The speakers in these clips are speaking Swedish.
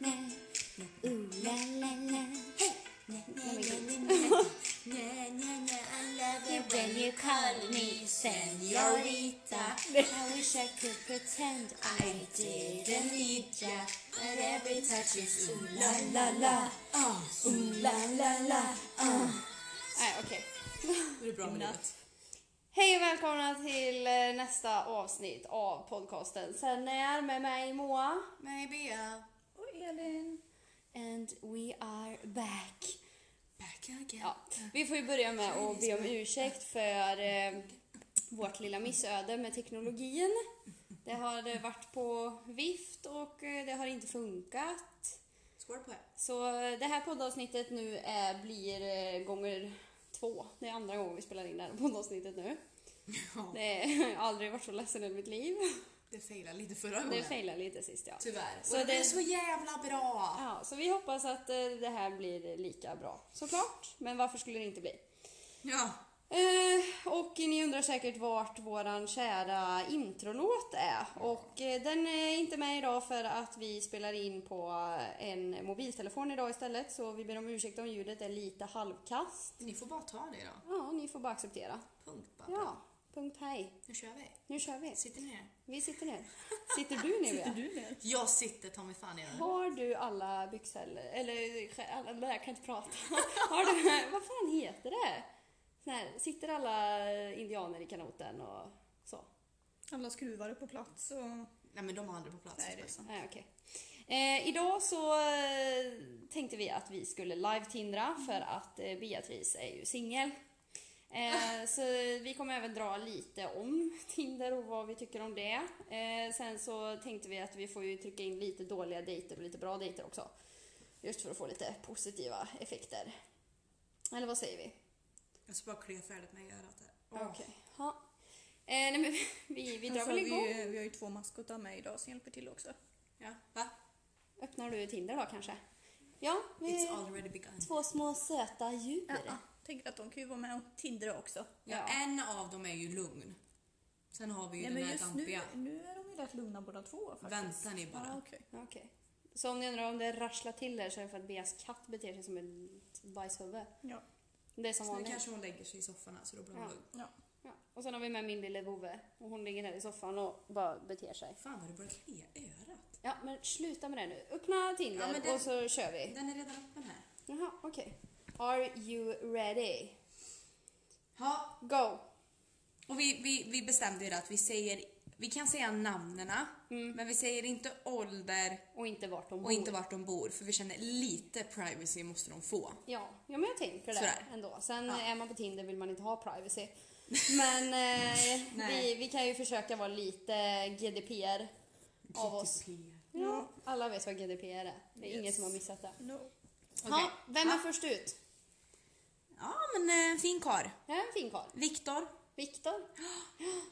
Ooh la la la. Hey. I love it when you call me senorita. I wish I could pretend I didn't need ya, but every touch is ooh la la la. Oh, ooh la la la. Oh. Nej, okej. Det är bra med livet. Hej och välkomna till eh, nästa avsnitt av podcasten Sen är med mig Moa. Med Bea. Och Elin. And we are back. Back again. Ja, vi får ju börja med att be om ursäkt för eh, vårt lilla missöde med teknologin. Det har eh, varit på vift och eh, det har inte funkat. Skål på er. Så eh, det här poddavsnittet nu är, blir eh, gånger två. Det är andra gången vi spelar in det här poddavsnittet nu. Ja, Det är, jag har aldrig varit så ledsen i mitt liv. det failade lite förra gången. Det failade lite sist ja. Tyvärr. Mm. Så Så det det- blev så jävla bra. ja. Så vi hoppas att eh, det här blir lika bra såklart. Men varför skulle det inte bli? Ja. Eh, och ni undrar säkert vart våran kära introlåt är. Och eh, den är inte med idag för att vi spelar in på eh, en mobiltelefon idag istället. Så vi ber om ursäkt om ljudet är lite halvkast. Ni får bara ta det då. Ja, ni får bara acceptera. Punkt bara. Ja, punkt hej. Nu kör vi. Nu kör vi. Sitter ni ner? Vi sitter ner. Sitter du ner? Bea? Jag sitter ta mig fan ner. Har du alla byxor eller alla, nej, jag kan inte prata. Har du, vad fan heter det? Sån här, sitter alla indianer i kanoten och så? Alla skruvar är på plats och... Nej men de har aldrig på plats. Nej, det är Alltså. Nej, okej. Eh, idag så eh, tänkte vi att vi skulle live-tindra för att eh, Beatrice är ju singel. Ah. Eh, så vi kommer även dra lite om Tinder och vad vi tycker om det. Eh, sen så tänkte vi att vi får ju trycka in lite dåliga dejter och lite bra dejter också. Just för att få lite positiva effekter. Eller vad säger vi? Jag ska bara klia färdigt med örat här. Okej. Ja. Eh, nej men vi, vi drar Ah. Alltså, väl igång. vi, vi har ju två maskotar med idag som hjälper till också. Ja, va? Öppnar du Tinder då kanske? Ja, vi... It's already begun. Två små söta djur. ah, Tänker att de kan ju vara med och tindra också. Ja, Ja. en av dem är ju lugn. Sen har vi ju Nej den men här just nu, dampiga. nu är de ju rätt lugna båda två faktiskt. Vänta ni bara. Ah, okej. Okej. Så om ni undrar om det rasslar till er så är det för att Beas katt beter sig som ett bajshuvud. Ja. Det är som Så nu vanligt. kanske hon lägger sig i soffan här, så då blir hon Ja. lugn. ja. Ja. Och sen har vi med min lille vovve. Och hon ligger här i soffan och bara beter sig. Fan vad du börjar klia örat. Ja, men sluta med det nu. Öppna Tinder Ja, men det- och så kör vi. Den är redan öppen här. Jaha, okej. Are you ready? Ja, Go! och vi, vi, vi bestämde ju det att vi säger, vi kan säga namnena, men vi säger inte ålder Och inte vart de och inte bor. vart de bor, för vi känner lite privacy måste de få. Ja, ja, men jag tänker det Sådär. ändå. Sen är man på Tinder vill man inte ha privacy. Men eh, vi, Nej. vi kan ju försöka vara lite GDPR av Typ oss. Ja, alla vet vad GDPR är. Det är ingen som har missat det. No. Ja, vem är Ja. först ut? Ja, men eh, en fin kar. Det är en fin karl. Viktor Viktor.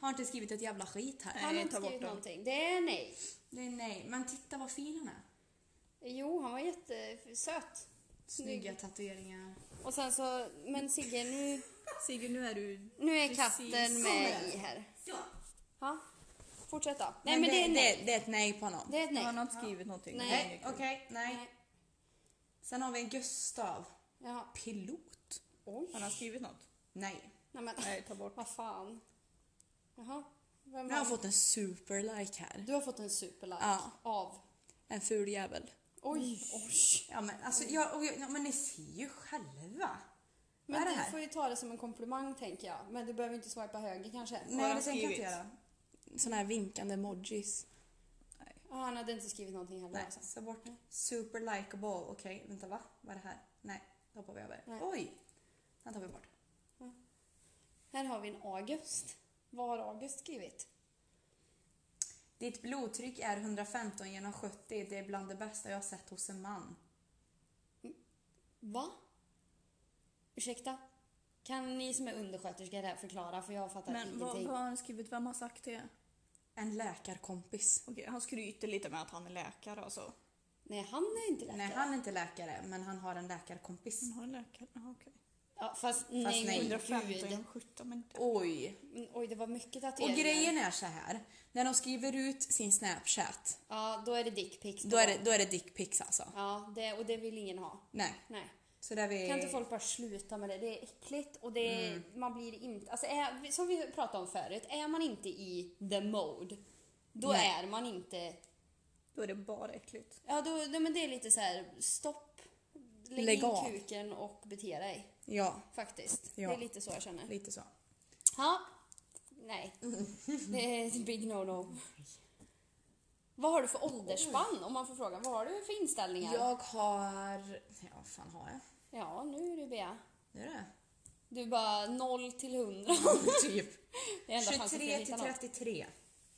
har inte skrivit ett jävla skit här. Han har Nej, inte ta bort skrivit dem. någonting. Det är nej. Det är nej, men titta vad fin han är. Jo, han var jättesöt. Snygga tatueringar. Och sen så, men Sigge nu, Sigge, nu är du... nu är Precis. katten med i här. Ja. Ja, fortsätt då. Nej Nej, men det är nej. Det, det är ett nej på honom. Det är ett nej. Han har inte skrivit någonting. Nej. Det är Nej, inget kul. okej, nej. Nej. Sen har vi en Gustav. Jaha. Pilot? Oj. Han har skrivit något. Nej. Nej men, Nej, ta bort. vad fan. Jaha. Vem Nu har har... jag fått en superlike här. Du har fått en superlike Ja. av. En ful jävel. Oj, oj. Ja men alltså, jag, och jag, ja, men ni ser ju själva. Vad är det Men du här? får ju ta det som en komplimang tänker jag. Men du behöver inte swipa höger kanske. Nej, han det tänker jag inte skrivit? göra. Såna här vinkande emojis. Ja, han hade inte skrivit någonting heller Nej, alltså. så bort. Super likeable. Okej, vänta va? Vad är det här? Nej, det hoppar vi över. Nej. Oj! Den tar vi bort. Här har vi en August. Vad har August skrivit? Ditt blodtryck är 115 genom 70. Det är bland det bästa jag har sett hos en man. Va? Ursäkta? Kan ni som är undersköterska där förklara? För jag fattar Men vad, ingenting. vad har han skrivit? Vem har sagt det? En läkarkompis. Okej, han skryter lite med att han är läkare och så. Nej, han är inte läkare. Mm. Nej, han är inte läkare, men han har en läkarkompis. Han har en läkare? Ah, okej. Ja, fast, nej, nej. nej. 115 Gud. genom 17 men Oj. Mm, Oj, det var mycket Och tatueringar. grejen är så här. När de skriver ut sin Snapchat, Ja, då är det dickpics. då är det, då är det dickpics alltså. Ja, det, och det vill ingen ha. Nej. Nej. Så där vi... Kan inte folk bara sluta med det? Det är äckligt och det Mm. är, man blir inte... Alltså är, som vi pratade om förut, är man inte i the mode, då Nej. är man inte... då är det bara äckligt. Ja, då, då, men det är lite så här: stopp, lägg, Lägg in av. kuken och bete dig. Ja, Faktiskt. Ja. Det är lite så jag känner. lite så. Ja. Nej. Det är ett big no-no. Vad har du för åldersspann om man får fråga? Vad har du för inställningar? Jag har... Ja, vad fan har jag? Ja, nu är det Bea. Nu är det. Du är bara 0 till 100. Typ. Det är enda chansen för 23 att till hitta något. 33.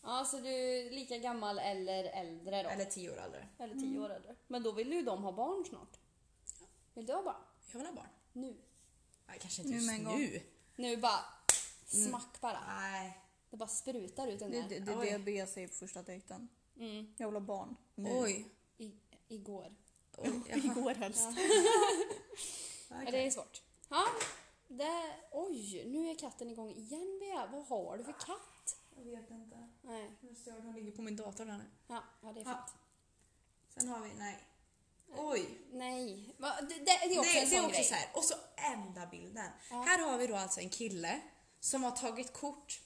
Ja, så du är lika gammal eller äldre då? Eller Mm. 10 år äldre. Eller 10 år äldre. Men då vill ju de ha barn snart. Vill du ha barn? Jag vill ha barn. Nu. Nej, kanske inte Nu just med en gång. nu. Nu bara Mm. smack bara. Nej. Det bara sprutar ut den Det, där. det, det är Oj. det jag ber sig på första dejten. Jag vill ha barn. Oj. I, igår. Oj. Igår helst. Ja, det är svårt. Ja. Det, oj, nu är katten igång igen Bea. Vad har du för katt? Jag vet inte. Nej. Jag är störd, hon ligger på min dator där nu. Ja, ja det är Ja. fint. Sen har vi, nej. Oj. Nej. Va, det, det, det är också Nej, en det är sån också grej. så här. Och så enda bilden. Här har vi då alltså en kille som har tagit kort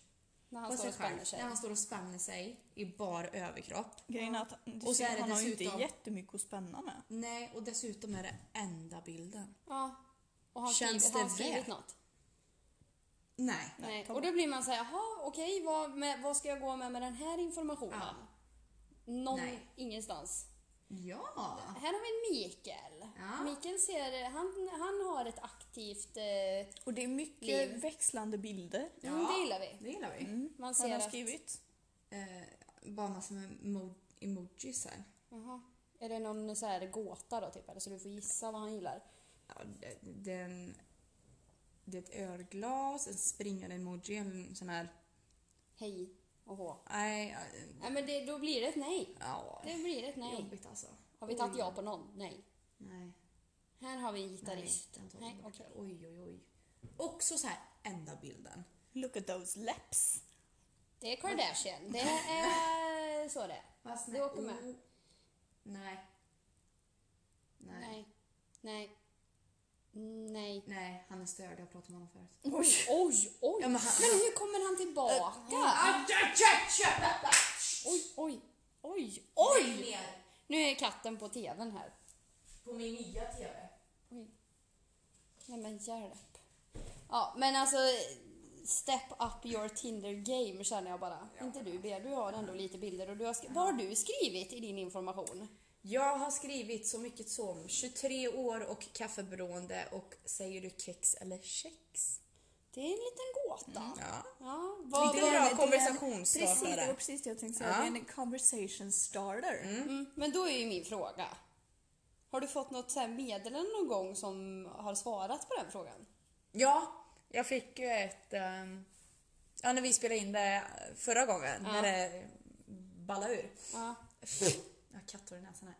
När han på står sig och själv spänner sig. när han står och spänner sig i bar överkropp. Grejen är att du Och så ser, är det han har ju dessutom- inte jättemycket att spänna med. Nej, och dessutom är det enda bilden. Ja. Och har han Känns skrivit, har han det skrivit värt? något? Nej. Nej. Och då blir man så här, jaha okej vad, med, vad ska jag gå med med den här informationen? Ja. Någon Nej. ingenstans. Ja! Här har vi Mikael. Ja. Mikael ser, han, han har ett aktivt... Eh, Och det är mycket Liv. växlande bilder. mm, det gillar vi. Det gillar vi. Man Har ser han att... skrivit? Eh, bara massor med emo- emojis här. Jaha. Är det någon så här gåta då typ? Eller så du får gissa vad han gillar? Ja, det, det, är en, det är ett ölglas, en springande emoji, en sån här... Hej och hå. Nej, eh, Nej men det, då blir det ett nej. ja. Det blir ett nej. Jobbigt alltså. Har vi tagit ja på någon? Nej. Nej. Här har vi en Nej, gitarrist. den tar vi Nej, bort. okej. Oj, oj, oj. Också så här, enda bilden. Look at those laps. Det är Kardashian. Det är eh, så det är. Fast Du åker med. oh. Nej. Nej. Nej. Nej. Nej. Nej. han är störd. Jag pratade med honom förut. Oj, oj, oj. Ja, men, men han- Äh, hur kommer han tillbaka? Oj, oj, oj, oj! Nu är katten på tvn här. På min nya TV. Oj. Nej men hjälp. Ja, men alltså step up your Tinder game känner jag bara. Inte du Bea, du har ändå lite bilder och du har skri- Vad har du skrivit i din information? Jag har skrivit så mycket som 23 år och kaffeberoende och säger du kex eller kex? Det är en liten gåta. Ja. Ja, Lite vad, bra är en- konversationsstartare. Precis, det var precis det jag tänkte säga. Ja. Det är en conversation starter. Mm, men då är ju min fråga. Har du fått något så här meddelande någon gång som har svarat på den frågan? Ja, jag fick ju ett... ehm, ja, när vi spelade in det förra gången, när det ballade ur. Ja. Jag har katthår i näsan här.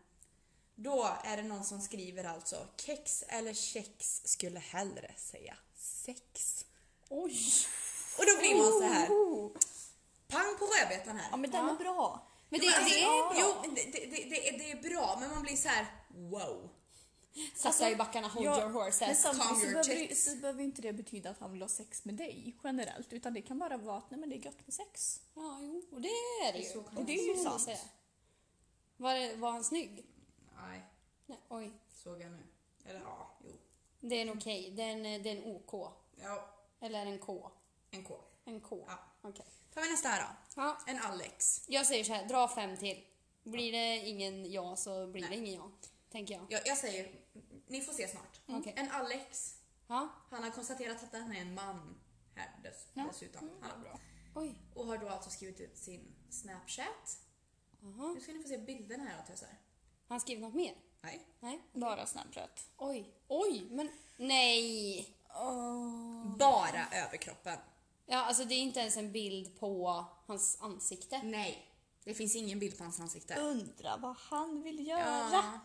Då är det någon som skriver alltså kex eller kex skulle hellre säga sex. Oj! Och då blir man så här. Pang på rödbetan här. Ja men den är bra. Men det, Men alltså, det är Jo, men det, det, det, det, är- det är bra, men man blir så här: wow. Satsa i backarna, hold Ja, your Men horses. samtidigt så your behöver, det, tits. så behöver inte det betyda att han vill ha sex med dig generellt. Utan det kan bara vara att nej, men det är gött med sex. Ja, jo, och det är det ju. det är ju Så sant. säga. Var, det, var han snygg? Nej, Nej, oj. såg jag nu. Eller ja, jo. Det är en okej, det, är en- det är en OK. Ja, Eller en K. en K. En K. Ja. Okej. Tar vi nästa här då. Ja, En Alex. jag säger så här, dra fem till. Blir det ingen ja så blir det ingen ja, tänker jag. Jag, jag säger, ni får se snart. Okej. En Alex. Ja, Han har konstaterat att han är en man här dess, dessutom. Han, bra. oj. Och har då alltså skrivit ut sin Snapchat. Nu ska ni få se bilderna här och tösar. Han skrev något mer? Nej. Nej. Bara Snapchat. Oj, oj, men nej! Bara överkroppen. Ja, alltså det är inte ens en bild på hans ansikte. Nej. Det finns ingen bild på hans ansikte. Undra vad han vill göra. Ja.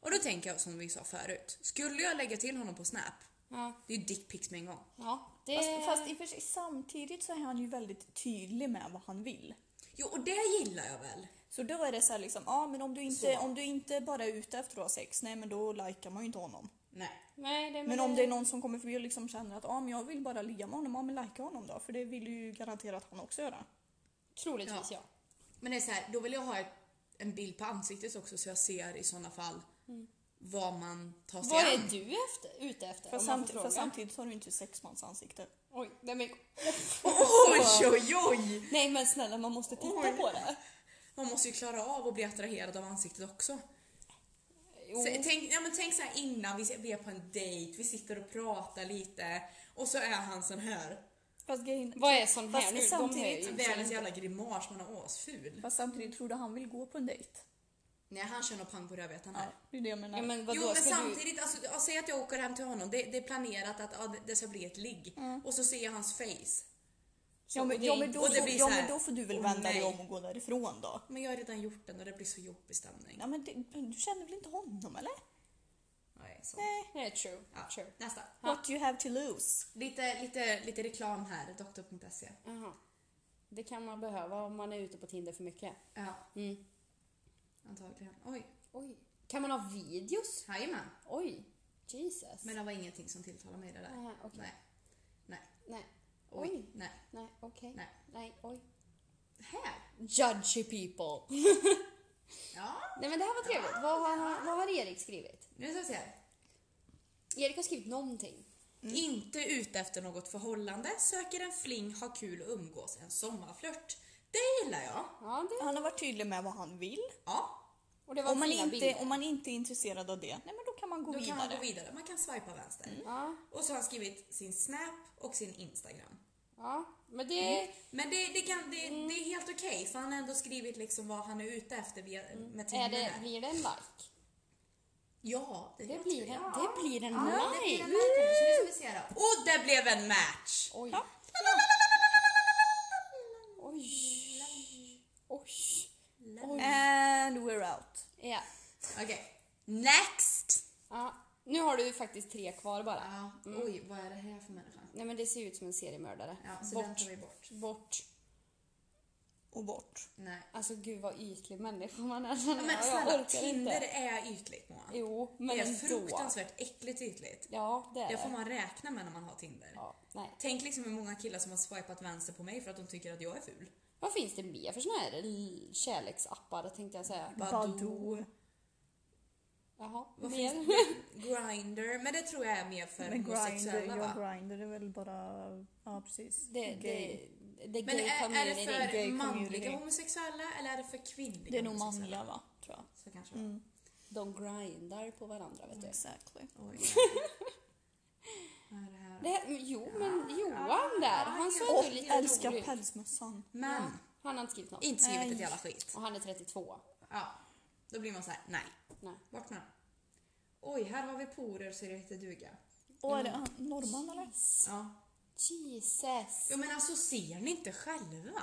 Och då tänker jag som vi sa förut. Skulle jag lägga till honom på Snap, Ja. Det är ju dickpics med en gång. ja det... Fast, fast i och för sig, samtidigt så är han ju väldigt tydlig med vad han vill. Jo, och det gillar jag väl. Så då är det så här liksom, ja men om du inte, Så. om du inte bara är ute efter att ha sex, nej men då likar man ju inte honom. Nej. Nej, det, Men om det är någon som kommer förbi och liksom känner att ja men jag vill bara ligga med honom, ja men likea honom då. För det vill ju garanterat han också göra. Troligtvis ja. Ja. Men det är så här, då vill jag ha ett, en bild på ansiktet också så jag ser i sådana fall vad man tar sig Mm. Vad an. är du efter, ute efter? För, om man samt, får för fråga? samtidigt har du inte sexmans ansikte. Oj, nej men, Oj, oj, oj! nej men snälla man måste titta Oj. på det. Man måste ju klara av att bli attraherad av ansiktet också. Jo. Så, tänk, ja, men tänk så här innan, vi ser- vi är på en dejt, vi sitter och pratar lite och så är han sån här. Fast, grejen, Vad är sån här Fast nu? De hör samtidigt- ju Världens inte. jävla grimas, man är asful. fast samtidigt tror du han vill gå på en dejt? Nej, han känner pang på rödbetan här. Det är det jag menar. Ja, men vadå, Jo men ska du- samtidigt, alltså, ja, säg att jag åker hem till honom, det, det är planerat att ja, det- det ska bli ett ligg. Mm. Och så ser jag hans face. Så- ja, och men, det- ja, men, då, och det får- blir ja, så här, men då får du väl åh, vända dig nej. om och gå därifrån då. Men jag har redan gjort den och det blir så jobbig stämning. Ja, men det, du känner väl inte honom eller? Nej, så. Nej, true. Ja, true. nästa. What you have to lose. Lite, lite, lite reklam här, doktor.se. Aha. Det kan man behöva om man är ute på Tinder för mycket. Ja, Mm. antagligen. Oj, Oj. Kan man ha videos? jajamän. Oj. Jesus. Men det var ingenting som tilltalade mig det där. Aha, okej. Nej. Nej. Nej. Oj. Oj. Nej. Nej, okej. Nej. Nej, oj. Här. Judgy people. Ja. Nej men det här var trevligt. Vad har, han- vad har Erik skrivit? Nu ska vi se. Erik har skrivit någonting. Inte ute efter något förhållande, söker en fling, har kul och umgås, en sommarflört. Det gillar jag. Ja, det... Han har varit tydlig med vad han vill. Ja, Och det var Om man, fina inte, bilder. om man inte är intresserad av det, nej men då kan man gå då kan vidare. man gå vidare. Man kan swipa vänster. Ja, Och så har han skrivit sin Snap och sin Instagram. ja. Men det... Men det, det, kan, det, Mm. det är helt okej, för han har ändå skrivit liksom vad han är ute efter via, med Är Tinder. det, här. blir det en like? Ja, det, Det blir en, ja. det blir en Ja, det blir like! en match. Så nu ska vi se då. Och det blev en match! Oj. Oj. Oj. Oj. And we're out. Ja. Okej, next! ja. Nu har du faktiskt tre kvar bara. Ja, Mm. Oj, vad är det här för människa? Nej men det ser ut som en seriemördare. Ja, så den bort. tar vi bort. Bort. Och bort. Nej. Alltså gud vad ytlig människa man är. Ja, men snälla, Tinder är ytligt Moa. Jo, men det är ändå. fruktansvärt äckligt ytligt. Ja, det är Det får det. man räkna med när man har Tinder. Ja, nej. Tänk liksom hur många killar som har swipat vänster på mig för att de tycker att jag är ful. Vad finns det mer för såna här l- kärleksappar tänkte jag säga? Badoo. Jaha, Vad mer? finns det? Grindr, men det tror jag är mer för Men grinder, homosexuella ja va? grinder är väl bara, ja precis. Det, Gay. det, det Men gay är, är det community. för Gay community. manliga homosexuella eller är det för kvinnliga Det är nog homosexuella? manliga va, tror jag. Så kanske Mm. det var. De grindar på varandra vet du. Mm. Exactly. Oj. Vad är det här? Det här, men jo, men Johan där, han såg Och ju lite älskar rolig ut. pälsmössan. Ja, Men, Han har inte skrivit något. inte skrivit ett Nej. jävla skit. Och han är 32. Ja, då blir man så här: nej. Nej. Bort med dem. Oj, här har vi porer så det heter duga. Och är det han- norrman eller? Ja. Jesus. Jo men alltså ser ni inte själva?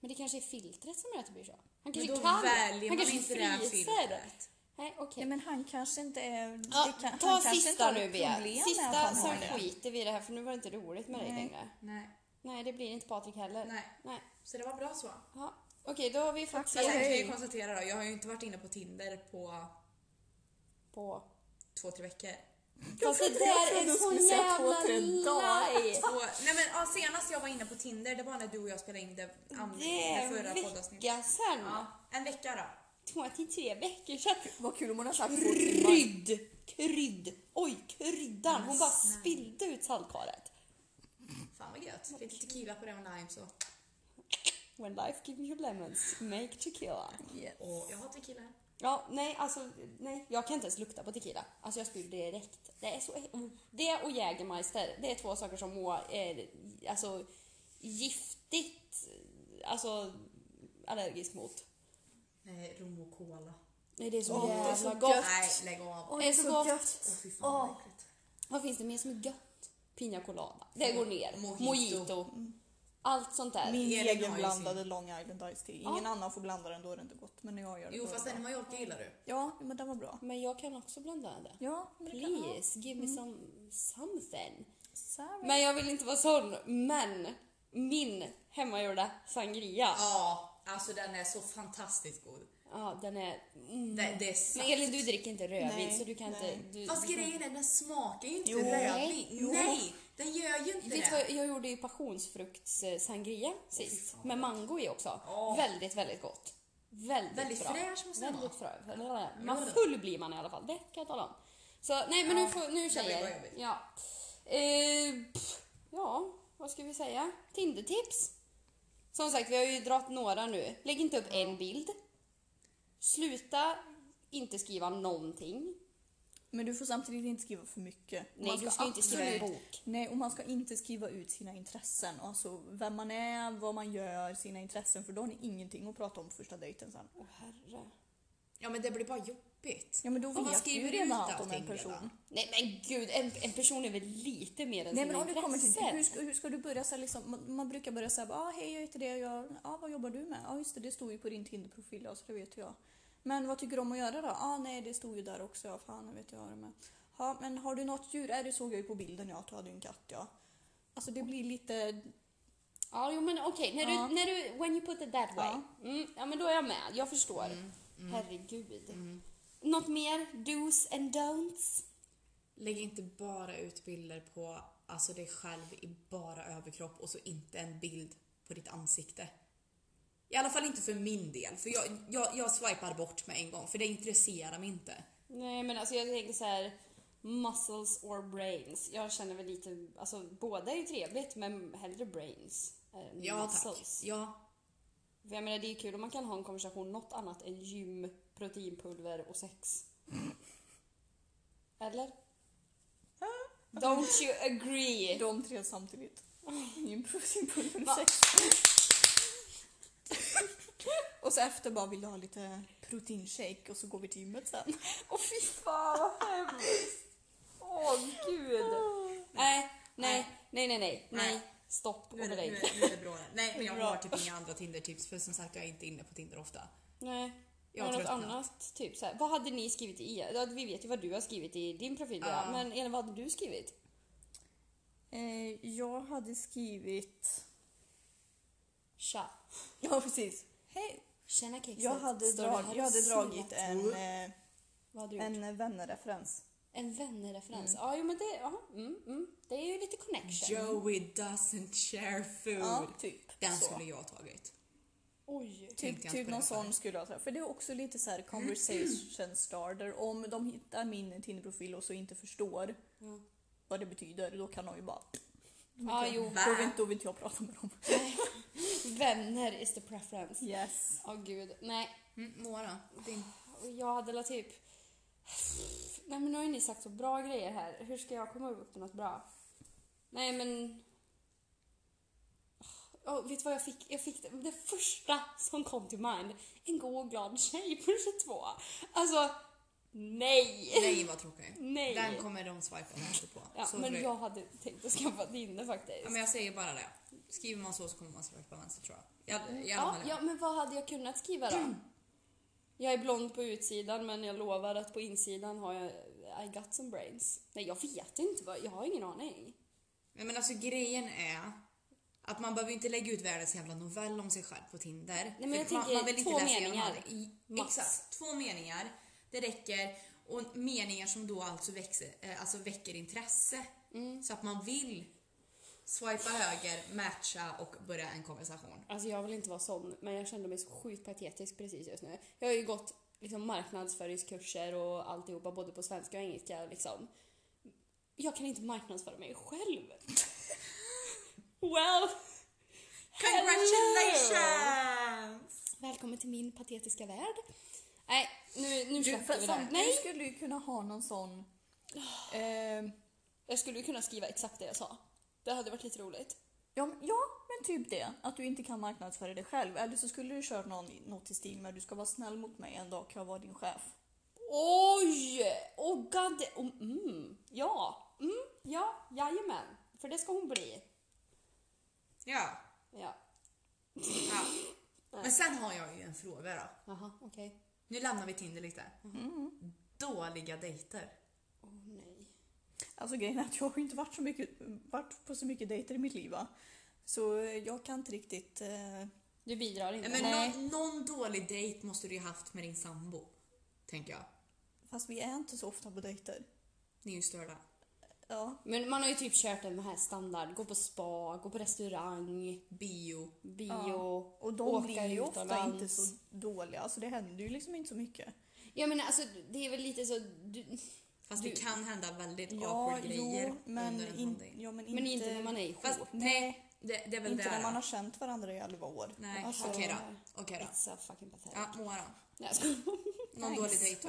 Men det kanske är filtret som gör att det blir så. Han Men kanske då kan. väljer Han man kanske inte det här fryser. filtret. Nej, okej. Nej men han kanske inte är... Ja, det kan, ta han kanske inte sista har nu ett problem med Bea. att Sista han så har det. skiter vi i det här för nu var det inte roligt med dig Nej. längre. Nej, Nej, det blir inte Patrik heller. nej. Nej. Så det var bra så. Ja. Okej, då har vi fått Fast jag kan ju se konstatera då, jag har ju inte varit inne på Tinder på på... två, tre veckor. Fast det Jag där trodde är du så skulle säga två, jävla tre dagar. light. Två, nej men ja, senast jag var inne på Tinder det var när du och jag spelade in det, an, Det det är förra en poddavsnittet. vecka sen. Ja, en vecka då. Två till tre veckor sedan. Vad kul om hon har sagt två timmar. Krydd! Krydd! Oj, kryddan! Hon bara spillde ut saltkaret. Fan vad gött. Lite tequila på det och lime så. When life gives you lemons, make tequila. Åh, jag har tequila här. Ja, nej, alltså, nej, jag kan inte ens lukta på tequila. Alltså jag spyr direkt. Det är så... oh. Det och Jägermeister, det är två saker som Moa är alltså, giftigt alltså, allergisk mot. Nej, rom och cola. Nej, det är så Åh, det är jävla så gott. gött. Nej, lägg av. Åh det är så gott. fy fan vad äckligt. Vad finns det mer som är gött? Pina colada. Det går ner. Mm. Mojito. Mojito. Allt sånt där. Mm. Min Elin har egen ju blandade Long Island Iced Tea. Ingen Ja. annan får blanda den, då är det inte gott. Men när jag gör det Jo då är fast det den i bra. Mallorca gillar du. Ja, men den var bra. Men jag kan också blanda det. Ja, men det kan- Mm. ja. Please, give me some something. Sorry. Men jag vill inte vara sån, men min hemmagjorda sangria. Ja, Ja, alltså den är så fantastiskt god. den är... Mm. Det, det är saft. Men Elin, du dricker inte rödvin Nej, så du kan nej. inte... Du, Fast du kan- grejen är den smakar ju inte Jo. rödvin. Jo. Nej, den gör ju inte Vet du det. vad, jag gjorde ju passionsfrukts-sangria sist. fan. med mango i också. Åh. Väldigt, väldigt gott. Väldigt, Väldigt bra. fräsch måste den Väldigt bra. Man Mm. full blir man i alla fall, det kan jag tala om. Så nej men nu, får, nu jobbigt, vad tjejer. jobbigt. Ja. Eh, pff, ja, vad ska vi säga? Tindertips. Som sagt, vi har ju dragit några nu. Lägg inte upp en bild. Sluta inte skriva någonting. Men du får samtidigt inte skriva för mycket. Nej, du ska inte skriva en absolut- bok. Nej, och man ska inte skriva ut sina intressen. Alltså vem man är, vad man gör, sina intressen. För då har ni ingenting att prata om på första dejten sen. Åh herre. Ja men det blir bara jobbigt. Ja men då Om man vet du ju skriver ut redan allt om allting en person. redan. Nej men gud, en, en person är väl lite mer än Nej men sina om du kommer till intressen? hur ska, hur ska du börja så här, liksom, man, man brukar börja säga ah, hej jag heter det och jag, ah, vad jobbar du med? Ja ah, just det, det stod ju på din Tinder-profil ja, så det vet jag. Men vad tycker du om att göra då? ah, nej det stod ju där också, ja fan jag vet jag har det med. Ja men har du något djur? Äh, det såg jag ju på bilden ja, att du hade ju en katt ja. Alltså det blir lite, Ja, jo, men okej. När, Ja. du, när du... When you put it that way. Ja. Mm, Mm, ja, men då är jag med. Jag förstår. Herregud. Något mer? Do's and don'ts? Lägg inte bara ut bilder på alltså dig själv i bara överkropp och så inte en bild på ditt ansikte. I alla fall inte för min del, för jag, jag, jag swipar bort med en gång för det intresserar mig inte. Nej, men alltså jag tänker så här... Muscles or brains. Jag känner väl lite... Alltså båda är ju trevligt, men hellre brains. än Ja tack. muscles. Ja, För jag menar, det är ju kul om man kan ha en konversation något annat än gym, proteinpulver och sex. Eller? Don't you agree? de tre samtidigt. Ingen proteinpulver Va? och sex. Och så efter bara vill du ha lite proteinshake och så går vi till gymmet sen. Åh fy fan vad hemskt! Åh gud! Nej, nej, nej, nej, nej, nej. Stopp och nu är, det, nu, belägg. är, nu är det bra. Nej men jag Bra. har typ inga andra Tinder-tips för som sagt jag är inte inne på Tinder ofta. Nej. Jag Jag har något tröttnat. annat, typ så här. Vad hade ni skrivit i er? Ja, Vi vet ju vad du har skrivit i din profil, ja. Ja. men Elin, vad hade du skrivit? Eh, jag hade skrivit... Tja. Ja, precis. Hej! Tjena kexet. Jag hade, Står du drag, här jag och hade silar? dragit en, eh, Vad hade du gjort? en vännerreferens. En vännerreferens. Ja, jo men det, ja, mm, mm. det är ju lite connection. Joey doesn't share food. Ja, typ. Den så. skulle jag ha tagit. Oj. Tänkte Typ, jag inte typ på någon det sån förut. skulle jag ha För det är också lite så här conversation starter. Om de hittar min Tinder-profil och så inte förstår Ja. vad det betyder, då kan de ju bara... Ja, jo. Va? Då vill, då vill inte jag prata med dem. Vänner is the preference. Yes. Åh gud, nej. Mm, Mora, din. Och jag hade la typ... Nej men nu har ju ni sagt så bra grejer här. Hur ska jag komma upp med något bra? Nej men... Åh, vet du vad jag fick? Jag fick det, det första som kom till mind. En god och glad tjej på 22. Alltså, nej! Nej vad tråkig. Nej. Den kommer de swipa vänster på. Ja, Så men tror jag hade tänkt att skaffa Tinder Ja, faktiskt. men jag säger bara det. Skriver man så så kommer man swipa vänster tror jag. Jag, jag Mm, Ja, ja, men vad hade jag kunnat skriva Mm. då? Jag är blond på utsidan men jag lovar att på insidan har jag I got some brains. Nej, jag vet inte. Vad, jag har ingen aning. Nej, men alltså grejen är att man behöver inte lägga ut världens jävla novell om sig själv på Tinder. men jag För man, tänker man vill inte två läsa igenom meningar. allt. I, Max. exakt, två meningar. Det räcker. Och meningar som då alltså, växer, eh, alltså väcker intresse. Mm. Så att man vill swipa höger, matcha och börja en konversation. Alltså jag vill inte vara sån, men jag kände mig så sjukt patetisk precis just nu. Jag har ju gått liksom, marknadsföringskurser och alltihopa, både på svenska och engelska. Liksom. Jag kan inte marknadsföra mig själv. well, Congratulations! välkommen till min patetiska värld. Nej, nu, nu Du, släpper vi det. här. du Nej, skulle ju kunna ha någon sån... Eh, jag skulle ju kunna skriva exakt det jag sa. Det hade varit lite roligt. Ja, men- ja, men typ det. Att du inte kan marknadsföra dig själv. Eller så skulle du köra någon, något i stil med du ska vara snäll mot mig, en dag kan jag vara din chef. Oj! Åh oh god! Oh, mm, ja, mm, ja, jajamän. För det ska hon bli. Ja. Eh, Men sen har jag ju en fråga då. Jaha, okej. Nu lämnar vi Tinder lite. Mm. Dåliga dejter. Åh nej. Alltså grejen är att jag har ju inte varit, så mycket, varit på så mycket dejter i mitt liv va. Så eh, jag kan inte riktigt... Eh, Du bidrar inte? Nej, men nej. Någon, någon dålig dejt måste du ju haft med din sambo. Tänker jag. fast vi är inte så ofta på dejter. Ni är ju störda. Ja. Men man har ju typ kört den här standard, gå på spa, gå på restaurang, Bio. bio, Och de åka blir ju ofta utomlands. inte så dåliga. Alltså det händer ju liksom inte så mycket. Jag menar alltså det är väl lite så, du, Fast Du- det kan hända väldigt Ja, awkward grejer jo, men, under en sån in, dejt. ja, men inte... men inte när man är ihop. Fast nej, det, det är väl Inte där. när man har känt varandra i elva år. Nej, Alltså, okej då. Okej då. It's so fucking pathetic. Ja, Moa då. Nej, jag skojar. Någon dålig dejt då?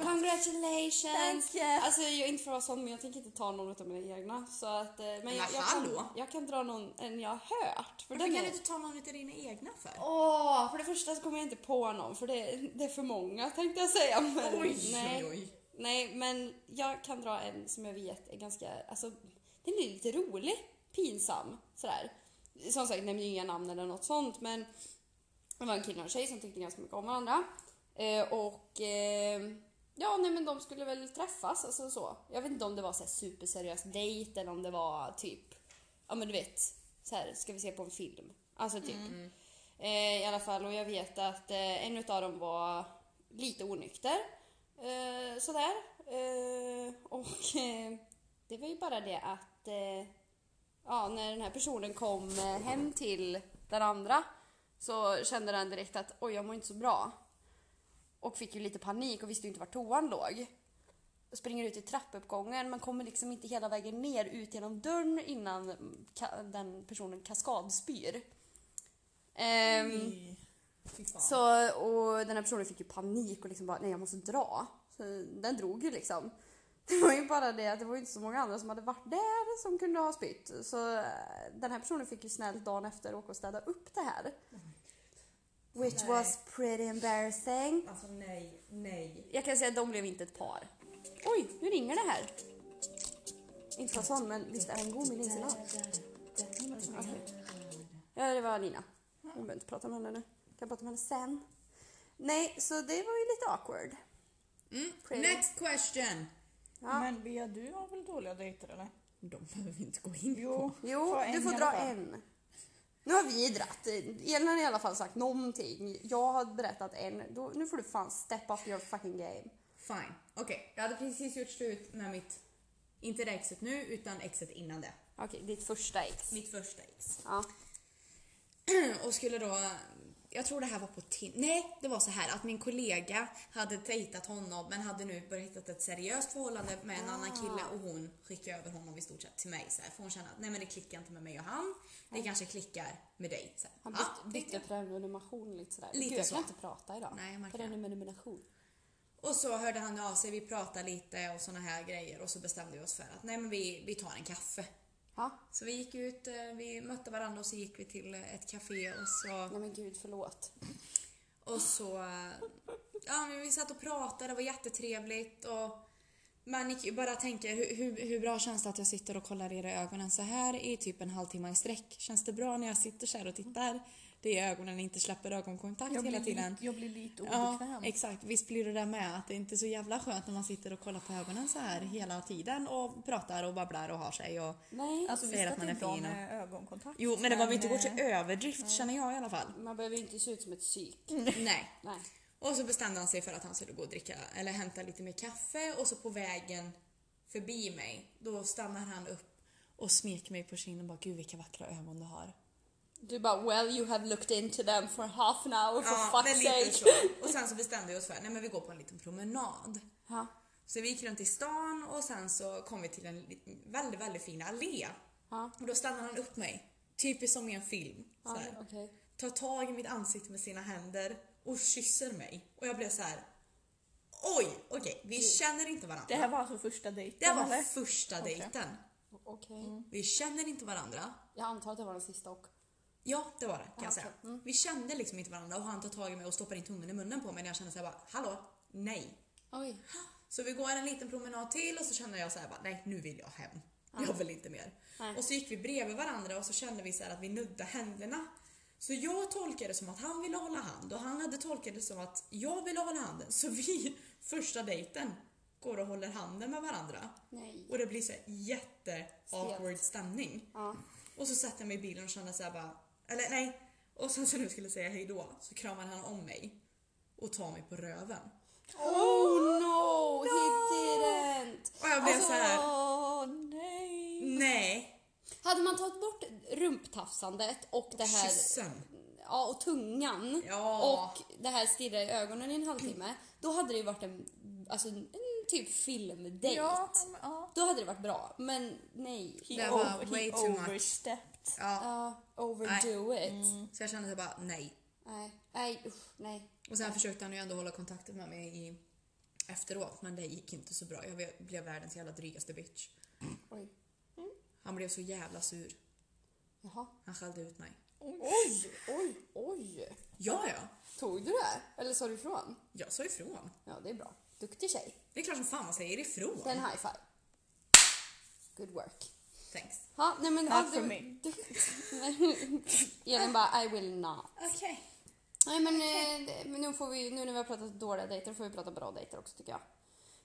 Congratulations! Thank you. Alltså jag är inte för att vara sån men jag tänker inte ta någon av mina egna. Så att, eh, men jag, jag, kan, hallå. jag kan dra någon en jag har hört. För Varför den kan är, du inte ta någon utav dina egna för? Åh, för det första så kommer jag inte på någon för det, det är för många tänkte jag säga. Men, nej, oj. nej, men jag kan dra en som jag vet är ganska, alltså den är lite rolig, pinsam sådär. Som sagt, nämner ju inga namn eller något sånt men det var en kille och en tjej som tyckte ganska mycket om varandra. Eh, och eh, ja, nej men de skulle väl träffas, alltså så. Jag vet inte om det var så här superseriös dejt eller om det var typ, ja men du vet, så här ska vi se på en film. Alltså typ. Mm. Eh, I alla fall, och jag vet att eh, en av dem var lite onykter. Eh, sådär. Eh, och eh, det var ju bara det att eh, ja, när den här personen kom eh, hem till den andra så kände den direkt att oj, jag mår inte så bra. Och fick ju lite panik och visste ju inte var toan låg. Och Springer ut i trappuppgången men kommer liksom inte hela vägen ner ut genom dörren innan ka- den personen kaskadspyr. Ehm, nej. Ehm. Fy fan. så, och den här personen fick ju panik och liksom bara nej jag måste dra. Så den drog ju liksom. Det var ju bara det att det var ju inte så många andra som hade varit där som kunde ha spytt. Så eh, den här personen fick ju snällt dagen efter åka och städa upp det här. Which Nej. was pretty embarrassing. Alltså nej, nej. Jag kan säga att de blev inte ett par. Oj, nu ringer det här. Inte för att vara sån men visst är den god min insidan? Ja, det var Nina. Jag behöver inte prata med henne nu. Jag kan prata med henne sen. Nej, så det var ju lite awkward. Mm. Pretty. Next question! Ja. Men Bea, du har väl dåliga dejter eller? De behöver vi inte gå in Jo, Jo, ta du en får i dra alla fall. en. Nu har vi dratt. Elin har i alla fall sagt någonting. Jag har berättat en. Då, nu får du fan step up your fucking game. Fine. Okej, jag hade precis gjort slut med mitt, inte det exet nu, utan exet innan det. Okej, ditt första ex. Mitt första ex. Ja. Och skulle då, jag tror det här var på Tinder. Nej, det var så här att min kollega hade dejtat honom men hade nu börjat hitta ett seriöst förhållande med en annan kille och hon skickade över honom i stort sett till mig. Så här, för hon kände att nej men det klickar inte med mig och han. Det kanske klickar med dig. Så här, Ah, Han ja, bytte, bytte tänkte jag. prenumeration lite sådär. Lite Gud, jag så. kan inte prata idag. Nej, jag märker det. Prenumeration. Och så hörde han av sig, vi pratade lite och såna här grejer och så bestämde vi oss för att nej men vi, vi tar en kaffe. Ja. Så vi gick ut, eh, vi mötte varandra och så gick vi till eh, ett café och så... Nej men gud, förlåt. Och så eh, ja, men vi satt och pratade, det var jättetrevligt och man gick ju bara tänker hur, hur, hur bra känns det att jag sitter och kollar er i ögonen så här i typ en halvtimme i sträck? Känns det bra när jag sitter så här och tittar? Det är ögonen inte släpper ögonkontakt jag hela blir, tiden. li- jag blir lite Ja, obekväm. exakt. Visst blir det där med att det inte är så jävla skönt när man sitter och kollar på ögonen så här hela tiden och pratar och babblar och har sig och... Nej. alltså säger visst att att man det är är bra fin och- med ögonkontakt. Jo, men det behöver inte gå eh, till överdrift känner jag i alla fall. Man behöver ju inte se ut som ett psyk. Nej. Nej. Och så bestämde han sig för att han skulle gå och dricka, eller hämta lite mer kaffe och så på vägen förbi mig, då stannar han upp och smeker mig på kinden och bara “Gud vilka vackra ögon du har”. Du bara well you have looked into them for half an hour for men fuck's sake. lite så. Och sen så bestämde vi oss för nej men vi går på en liten promenad. Ja. Så vi gick runt i stan och sen så kom vi till en liten- väldigt, väldigt fin allé. Ja. Och då stannade han upp mig, typiskt som i en film. Ja, såhär. okej. Tar tag i mitt ansikte med sina händer och kysser mig. Och jag blev så här. Oj, okej, vi känner inte varandra. Det här var alltså första dejten Det här var eller? första dejten. Okej. Vi känner inte varandra. Jag antar att det var den sista och. Ja, det var det kan Ah, jag säga. okej. Vi kände liksom inte varandra och han tar tag i mig och stoppar in tummen i munnen på mig när jag kände såhär bara, hallå, nej. Oj. Så vi går en liten promenad till och så känner jag såhär bara, nej nu vill jag hem. Jag vill inte mer. Nej. Och så gick vi bredvid varandra och så kände vi såhär att vi nuddade händerna. Så jag tolkade det som att han ville hålla hand och han hade tolkat det som att jag ville hålla handen. Så vi, första dejten, går och håller handen med varandra. Nej. Och det blir så här jätte awkward stämning. Ja. Och så satte jag mig i bilen och kände så här bara, eller nej. Och sen så nu skulle jag säga hejdå så kramade han om mig och tar mig på röven. Oh no! He didn't! Och jag blev så här, Åh nej! nej. Alltså, Hade man tagit bort rumptafsandet och det här Kyssen. ja, och tungan Ja. och det här stirra i ögonen i en halvtimme, då hade det ju varit en, alltså, en typ filmdejt. Ja, men, ja. Då hade det varit bra, men nej. Det He var over- way he too much. overstepped. Ja, Ja, Mm. overdo it. så jag kände så bara nej. Nej, nej, usch, nej. Och sen försökte han ju ändå hålla kontakten med mig i, efteråt men det gick inte så bra. Jag blev världens jävla drygaste bitch. Oj. Han blev så jävla sur. Jaha. Han skällde ut mig. Oj, oj, oj. Ja, ja. Tog du det? Eller sa du ifrån? Jag sa ifrån. Ja, det är bra. Duktig tjej. Det är klart som fan man säger ifrån. Den high five. Good work. Thanks. Ja, nej men... Not ja, for du- me. du- Elin bara, I will not. Okej. Nej men, eh, men nu, får vi, nu när vi har pratat dåliga dejter får vi prata bra dejter också tycker jag.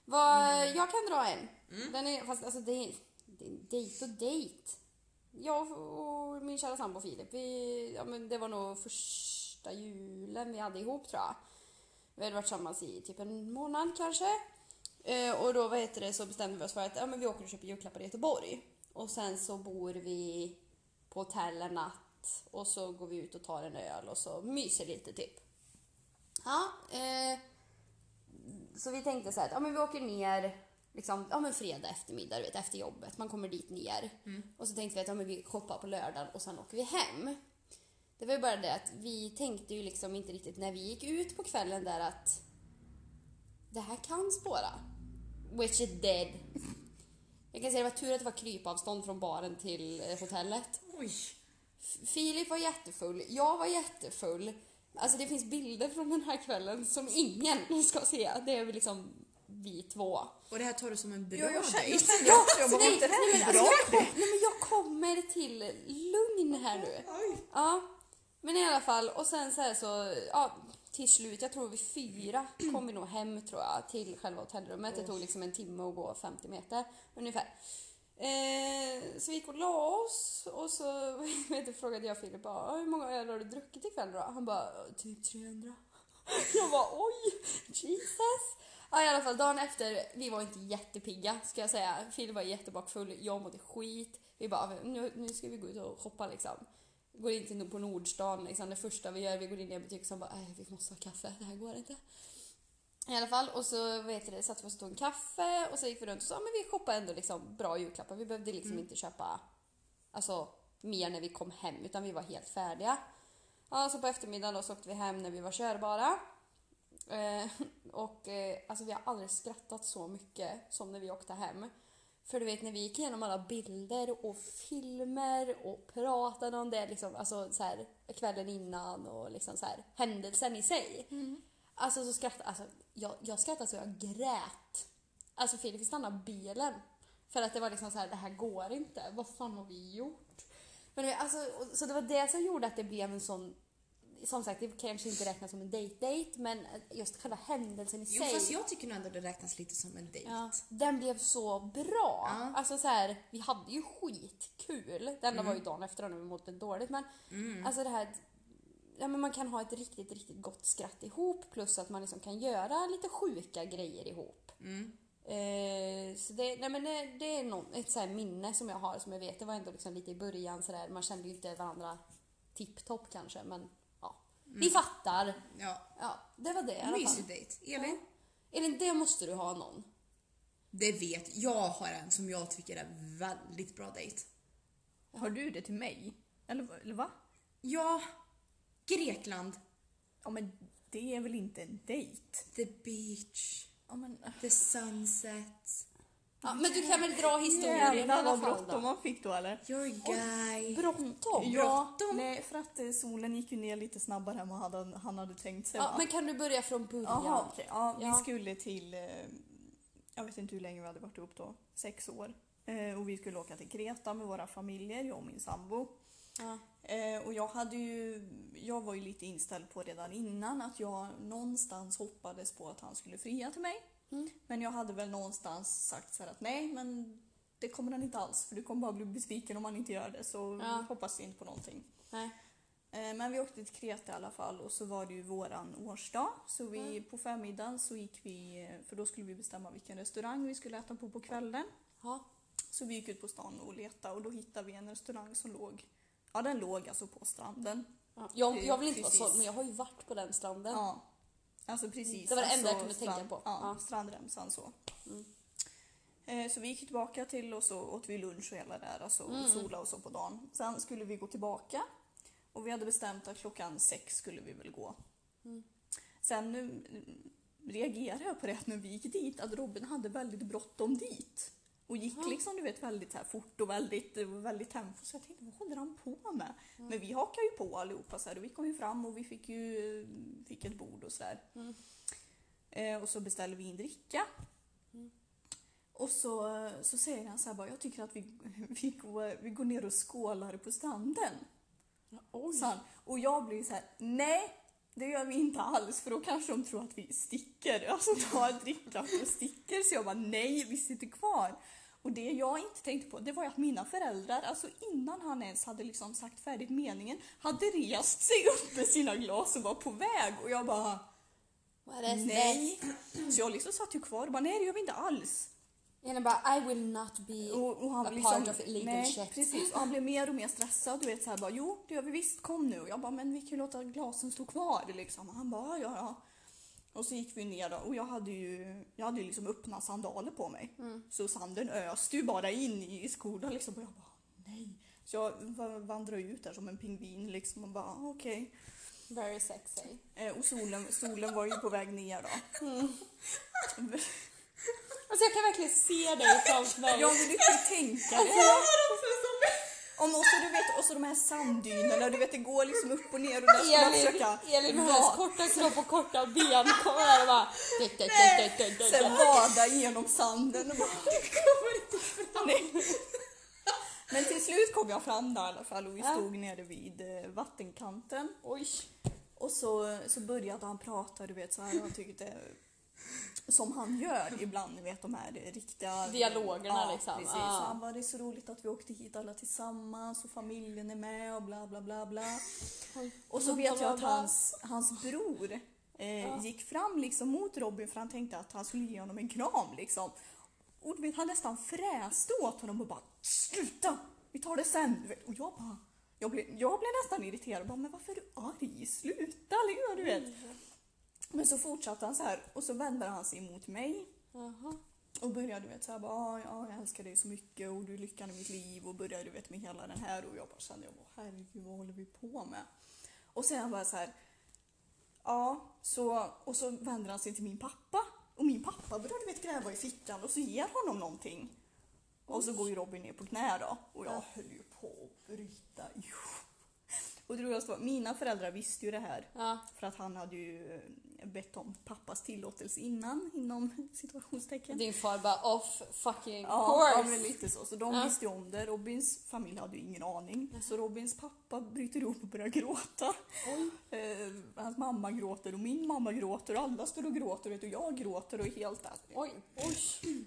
Vad, Jag kan dra en. Den är, fast alltså det är, det är en dejt och dejt. Jag och och min kära sambo Filip, vi, ja, men det var nog första julen vi hade ihop tror jag. Vi hade varit tillsammans i typ en månad kanske. Eh, och då vad heter det, så bestämde vi oss för att ja, men vi åker och köper julklappar i Göteborg. Och sen så bor vi på hotell en natt och så går vi ut och tar en öl och så myser lite typ. Ja, eh, så vi tänkte så här att ja, men vi åker ner liksom, ja, men fredag eftermiddag du vet, efter jobbet. Man kommer dit ner. Och så tänkte vi att ja, men vi shoppar på lördagen och sen åker vi hem. Det var ju bara det att vi tänkte ju liksom inte riktigt när vi gick ut på kvällen där att det här kan spåra. Which it did. Jag kan säga det var tur att det var krypavstånd från baren till eh, hotellet. Oj. Filip var jättefull, jag var jättefull. Alltså det finns bilder från den här kvällen som ingen ska se. Det är väl liksom vi två. Och det här tar du som en bra Jag, jag kände, jag dejt? kände också, jag bara, nej, var inte det nej, här men en bra alltså, jag, nej, men jag kommer till lugn här nu. Ja, men i alla fall och sen så här så, ja, till slut, jag tror vid fyra kom vi nog hem tror jag till själva hotellrummet. Det tog liksom en timme att gå 50 meter ungefär. Eh, så vi gick och la oss och så vet du, frågade jag Filip bara, hur många öl har du druckit ikväll då? Han bara, typ 300. Jag bara oj, Jesus. Ja, i alla fall dagen efter, vi var inte jättepigga ska jag säga. Filip var jättebakfull, jag mådde skit. Vi bara, nu, nu ska vi gå ut och shoppa liksom. Går in till, på Nordstan liksom. Det första vi gör, vi går in i en butik och så bara, nej vi måste ha kaffe, det här går inte. I alla fall, och så vad heter det, satte vi oss och tog en kaffe och så gick vi runt och sa, men vi shoppade ändå liksom bra julklappar. Vi behövde liksom inte köpa alltså, mer när vi kom hem utan vi var helt färdiga. Ja, så på eftermiddagen då, så åkte vi hem när vi var körbara. Eh, och eh, alltså vi har aldrig skrattat så mycket som när vi åkte hem. För du vet när vi gick igenom alla bilder och filmer och pratade om det liksom, alltså så här, kvällen innan och liksom så här, händelsen i sig. Mm. Alltså så skrattade alltså, jag, jag skrattade så jag grät. Alltså Filip fick stanna bilen. För att det var liksom så här, det här går inte. Vad fan har vi gjort? Men du vet, alltså, och- så det var det som gjorde att det blev en sån som sagt, det kanske inte räknas som en date-date, men just själva händelsen i Jo sig. fast jag tycker nog ändå det räknas lite som en dejt. Ja. Den blev så bra. Ja. Alltså så här, vi hade ju skitkul. Det enda var ju dagen efter när vi mådde dåligt. Men alltså det här, ja, men man kan ha ett riktigt, riktigt gott skratt ihop plus att man liksom kan göra lite sjuka grejer ihop. Mm, Eh, så det, nej men det, det är någon, ett så här minne som jag har som jag vet, det var ändå liksom lite i början så där, man kände ju inte varandra tipptopp kanske men ja. Vi fattar. Ja. Mm. Ja, det var det i alla fall. Mysig dejt. Elin? Elin, det måste du ha någon. Det vet jag har en som jag tycker är väldigt bra dejt. Har du det till mig? Eller, eller va? Ja, Grekland. Ja men det är väl inte en dejt? The beach. Ja men... The sunset. Ja, men du kan väl dra historien i Jävlar alla vad fall bråttom då? man fick då eller? Your guy. Bråttom? Ja, Bråttom. nej för att eh, solen gick ju ner lite snabbare än vad han, han hade tänkt sig. Ja, va? men kan du börja från början? Jaha, okej. Ja, Ja. Vi skulle till, eh, jag vet inte hur länge vi hade varit ihop då, sex år. Eh, och vi skulle åka till Kreta med våra familjer, jag och min sambo. Ja. Eh, Eh, och jag, hade ju, jag var ju lite inställd på redan innan att jag någonstans hoppades på att han skulle fria till mig. Mm. Men jag hade väl någonstans sagt så här att nej, men det kommer han inte alls för du kommer bara bli besviken om han inte gör det så Ja. hoppas inte på någonting. Nej. Eh, Men vi åkte till Kreta i alla fall och så var det ju våran årsdag. Så vi, Mm. på förmiddagen så gick vi, eh, för då skulle vi bestämma vilken restaurang vi skulle äta på på kvällen. Ja. Så vi gick ut på stan och letade och då hittade vi en restaurang som låg, ja den låg alltså på stranden. Ja. Jag, jag vill inte vara Precis. såld men jag har ju varit på den stranden. Ja. Alltså precis. Det var det alltså enda jag kunde tänka på. Ja, Ja. Strandremsan så. Mm. Eh, Så vi gick tillbaka till och så åt vi lunch och hela det där alltså, Mm. och sola och så på dagen. Sen skulle vi gå tillbaka och vi hade bestämt att klockan sex skulle vi väl gå. Mm. Sen nu mm, reagerade jag på det att när vi gick dit att Robin hade väldigt bråttom dit. Och gick liksom du vet väldigt så här fort och väldigt, det var väldigt tempo. Så jag tänkte vad håller han på med? Men vi hakar ju på allihopa så här, och vi kom ju fram och vi fick ju eh, fick ett bord och sådär. Eh, och så beställde vi in dricka. Och så, så säger han så här bara, jag tycker att vi, vi, går, vi går ner och skålar på stranden. Oj. sa han. Och jag blir så här, nej det gör vi inte alls för då kanske de tror att vi sticker. Alltså tar en dricklapp och sticker. Så jag bara, nej vi sitter kvar. Och det jag inte tänkte på det var ju att mina föräldrar, alltså innan han ens hade liksom sagt färdigt meningen, hade rest sig upp med sina glas och var på väg. Och jag bara, Vad är det? Nej. Så jag liksom satt ju kvar och bara, nej det gör vi inte alls. Ena bara I will not be Och, och han a blev part liksom, of illegal nej, shit. Precis, och han blev mer och mer stressad. Du vet så här bara, jo det gör vi visst, kom nu. Och jag bara, men vi kan ju låta glasen stå kvar liksom. Och han bara, ja ja. Och så gick vi ner då, och jag hade ju, jag hade ju liksom öppna sandaler på mig. Mm. Så sanden öste ju bara in i skorna liksom. Och jag bara, nej. Så jag va- vandrade ut där som en pingvin liksom och bara, ah, okej. Very sexy. Eh, Och solen, solen var ju på väg ner då. Alltså jag kan verkligen se dig framför mig. Jag vill inte tänka det. Om, och, så, du vet, och så de här sanddynerna, du vet det går liksom upp och ner och där ska man Elin, försöka Elin med hennes va- korta kropp och korta ben kommer här och bara... Det, det, det, det, det, sen det. vada genom sanden och bara... Nej. Men till slut kom jag fram där i alla fall och vi Ja. stod nere vid eh, vattenkanten. Oj. Och så, så började han prata, du vet så här, han tyckte... Som han gör ibland, ni vet de här riktiga... Dialogerna ja, liksom. Precis. Ja. Han bara, det är så roligt att vi åkte hit alla tillsammans och familjen är med och bla bla bla bla. Oj. Och så vet jag att hans, hans bror eh, gick fram liksom mot Robin för han tänkte att han skulle ge honom en kram liksom. Och du vet, han nästan fräste åt honom och bara sluta, vi tar det sen. du vet. Och jag bara, jag blev, jag blev nästan irriterad. Bara, men varför är du arg? Sluta! liksom, Du vet. Men så fortsatte han så här och så vände han sig mot mig Jaha. och började du vet såhär bara "Ah, ja, jag älskar dig så mycket och du är lyckan i mitt liv och började du vet med hela den här och jag bara kände jag bara herregud vad håller vi på med? Och sen bara så här ja så och så vänder han sig till min pappa och min pappa började du vet gräva i fickan och så ger honom någonting. Och så går ju Robin ner på knä då och jag höll ju på att bryta ihop. Och det roligaste var mina föräldrar visste ju det här Ja. för att han hade ju eh, bett om pappas tillåtelse innan inom situationstecken. Din far bara off fucking Ja, ja, course. men lite så. Så de Ja. visste ju om det. Robins familj hade ju ingen aning. Så Robins pappa bryter ihop och börjar gråta. Eh, hans mamma gråter och min mamma gråter och alla står och gråter vet, du, och jag gråter och är helt där. Oj, oj.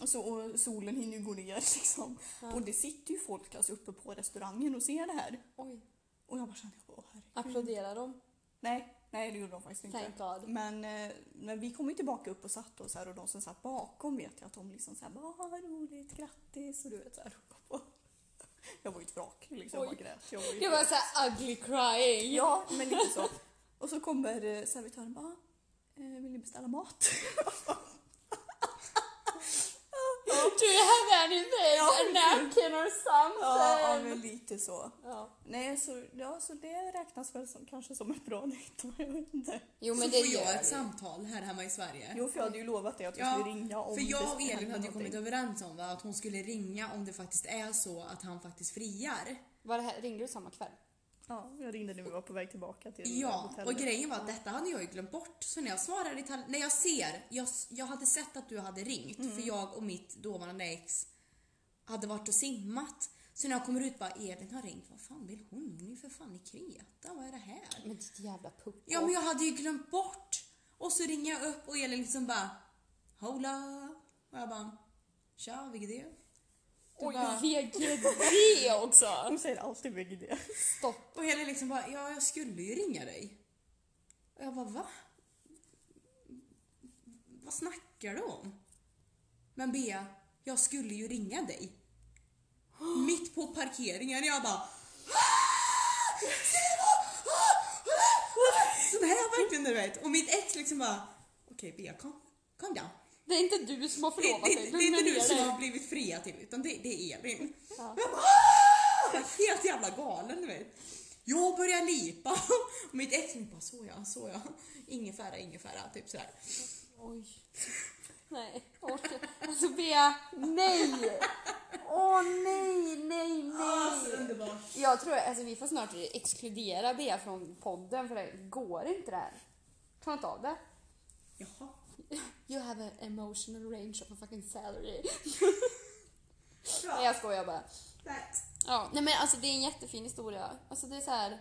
Och så, och solen hinner ju gå ner liksom. Och det sitter ju folk alltså, uppe på restaurangen och ser det här. oj. Och jag bara känner, åh herregud. Applåderar de? Nej, nej det gjorde de faktiskt inte. Thank God. Men, eh, men vi kom ju tillbaka upp och satte oss här och de som satt bakom vet jag att de liksom såhär bara "Ah, vad roligt, grattis och du vet såhär. Jag var ju ett vrak liksom, jag bara Oj. grät. Jag var ju Det var såhär ugly crying. Ja, men lite så. Och så kommer eh, servitören bara "Ah, eh, vill ni beställa mat? Do you have anything? Ja, A napkin or something? Ja, ja men lite så. Ja. Nej, så, ja, så det räknas väl som, kanske som en bra nyhet, jag vet inte. Jo så men det får gör jag ett vi. samtal här hemma i Sverige. Jo, för jag hade ju lovat dig att jag Ja, skulle ringa om För jag och det Elin hände hade ju kommit någonting. överens om va, att hon skulle ringa om det faktiskt är så att han faktiskt friar. Var det här, ringde du samma kväll? Ja, jag ringde när vi var på väg tillbaka till Ja, hotellet. och grejen var att detta hade jag ju glömt bort. Så när jag svarade i tal- när jag ser, jag, jag hade sett att du hade ringt för jag och mitt dåvarande ex hade varit och simmat. Så när jag kommer ut bara, Evin har ringt. Vad fan vill hon? Hon är ju för fan i Kreta. Vad är det här? Men ditt jävla pucko. Ja, men jag hade ju glömt bort. Och så ringer jag upp och Elin liksom bara Hola! Och jag bara Tja, vilket är det? Oj, bara- VGD också! Hon säger alltid VGD. Stopp. Och Elin liksom bara Ja, jag skulle ju ringa dig. Och jag bara Va? Vad snackar du om? Men Bea, jag skulle ju ringa dig. Mitt på parkeringen. Jag bara "Ah! Ska det vara? Ah! Ah!" Så det här är verkligen du vet. Och mitt ex liksom bara Okej Bea, kom, kom down. Det är inte du som har Det, förlovat det, dig. det är inte Lugna du ner som dig. har blivit fria till utan det, det är Elin. Ja. Jag bara, "Ah!" Jag var helt jävla galen du vet. Jag börjar lipa och mitt ex bara så ja, så ja. Ingefära, ingefära, typ sådär. Oj. Nej, jag orkar Alltså Bea, nej! Åh nej, nej, nej! Alltså, underbart. Jag tror, alltså vi får snart exkludera Bea från podden för det går inte det här. Klarar inte av det. Jaha. You have an emotional range of a fucking salary. Nej, Bra. jag skojar bara. Tack. Ja, nej men alltså det är en jättefin historia. Alltså det är så här.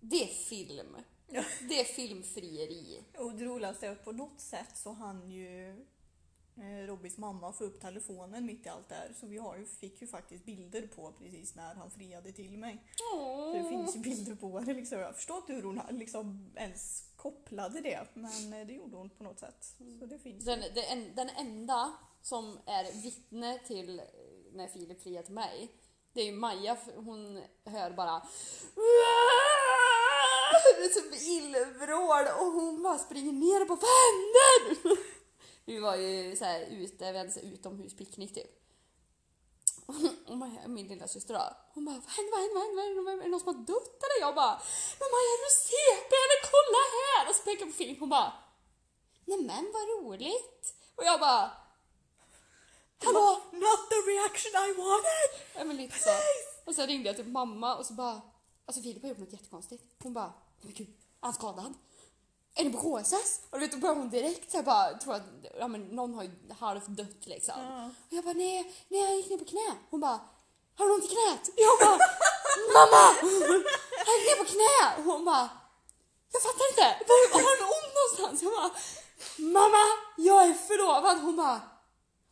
Det är film. Det är filmfrieri. Och det roligaste är att på något sätt så hann ju eh, Robbys mamma få upp telefonen mitt i allt det här. Så vi har ju, fick ju faktiskt bilder på precis när han friade till mig. Så det finns ju bilder på det liksom. Jag förstår inte hur hon liksom ens kopplade det. Men eh, det gjorde hon på något sätt. Så det finns ju. Den, det en, den enda som är vittne till eh, när Filip friar till mig, det är ju Maja. för Hon hör bara Det är som illvrål och hon bara springer ner och bara Vad händer? Vi var ju så här ute, vi hade så här utomhuspicknick typ. Och Maja, min lilla syster då, hon bara vad händer, vad händer, vad händer, vad händer, är det någon som har dött eller? Jag bara men Maja är du CP eller kolla här! Och så pekar jag på Filip, hon bara Nämen vad roligt! Och jag bara... Hallå! Not the reaction I wanted! Ja, men lite så. Och sen ringde jag till mamma och så bara... Alltså Filip har gjort något jättekonstigt. Hon bara... "Nej, Men gud, är han skadad? Är ni på KSS? Och du vet, då började hon direkt så jag bara, tror att ja, men någon har ju halvt dött liksom. Och jag bara, nej, nej, han gick ner på knä. Hon bara, har du ont i knät? Jag bara, mamma! Han gick ner på knä! Och hon bara, jag fattar inte. Var var har han ont någonstans? Jag bara, mamma, jag är förlovad. Hon bara,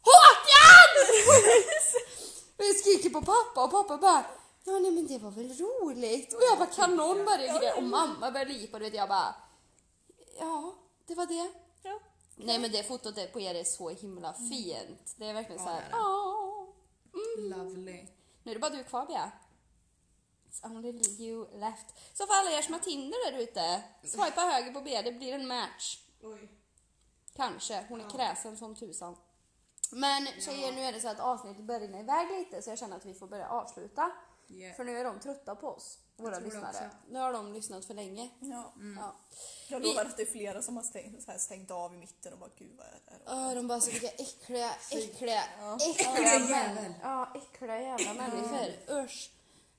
Håkan! Och jag skriker på pappa och pappa bara Ja nej men det var väl roligt? Och jag bara kan någon börja greja? Och mamma börjar lipa du vet jag bara Ja, det var det. Ja. Nej men det fotot är på er är så himla fint. Det är verkligen så Mm. Ja, här. det är "Åh." Lovely. Nu är det bara du kvar Bea. It's only you left. Så för alla er som har Tinder där ute, Mm. swipa höger på Bea, det blir en match. Oj. Kanske. Hon är kräsen som tusan. Men tjejer, nu är det så att avsnittet börjar rinna iväg lite så jag känner att vi får börja avsluta. Yeah. För nu är de trötta på oss, våra tror det lyssnare. också. Mm. Nu har de lyssnat för länge. Ja. Ja. Jag Vi- lovar att det är flera som har stängt, så här, stängt av i mitten och bara gud vad är det här? Åh, de bara så vilka äckliga, äckliga, Ja. äckliga Äckliga män. jävel. Ja, äckliga jävla människor. Usch.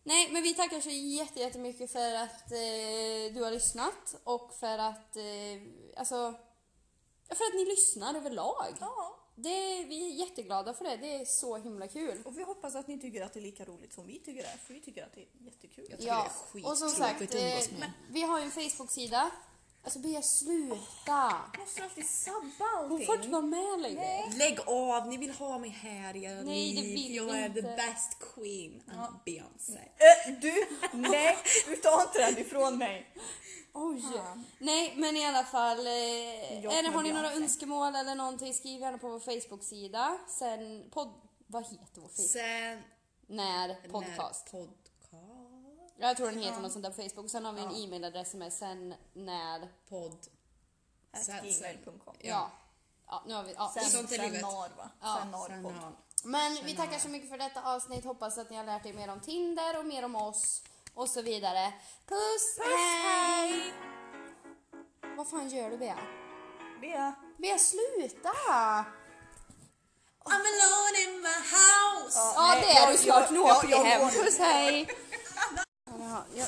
Nej, men vi tackar så jätte- jättemycket för att eh, du har lyssnat och för att, eh, alltså, ja, för att ni lyssnar överlag. Ja. Det, vi är jätteglada för det. Det är så himla kul. Och vi hoppas att ni tycker att det är lika roligt som vi tycker det är, för vi tycker att det är jättekul. Jag tycker Ja, det är och som sagt, skittråkigt att umgås eh, med. vi har ju en Facebook-sida. Alltså Bea, sluta! Måste alltid sabba allting. Hon får inte vara med längre. Lägg av, ni vill ha mig här. Jag, Nej, det vill vi Jag är inte. the best queen. I'm Beyoncé. Eh, du, nej, du tar inte den ifrån mig. Oj! Nej, men i alla fall. Eh, Jag eller kommer har ni bli några arg. önskemål eller någonting, skriv gärna på vår Facebook-sida. Sen podd... Vad heter vår Facebook? Sen... När podcast. När podcast. Jag tror den heter något sånt där på Facebook. Sen har vi en e-mailadress som är sen när... Podd. Sen- sen- Gmail.com. Ja. Ja, nu har vi... Ja. Sen, Sånt är sen livet. norr va? Ja, sen norr sen på. har- Men vi tackar så mycket för detta avsnitt. Hoppas att ni har lärt er mer om Tinder och mer om oss och så vidare. Puss, hej! Vad fan gör du Bea? Bea. Bea sluta! I'm alone in my house! Ja det är jag- du snart, nu jag- åker vi jag hem. går nu. Puss hej! Ja, jag,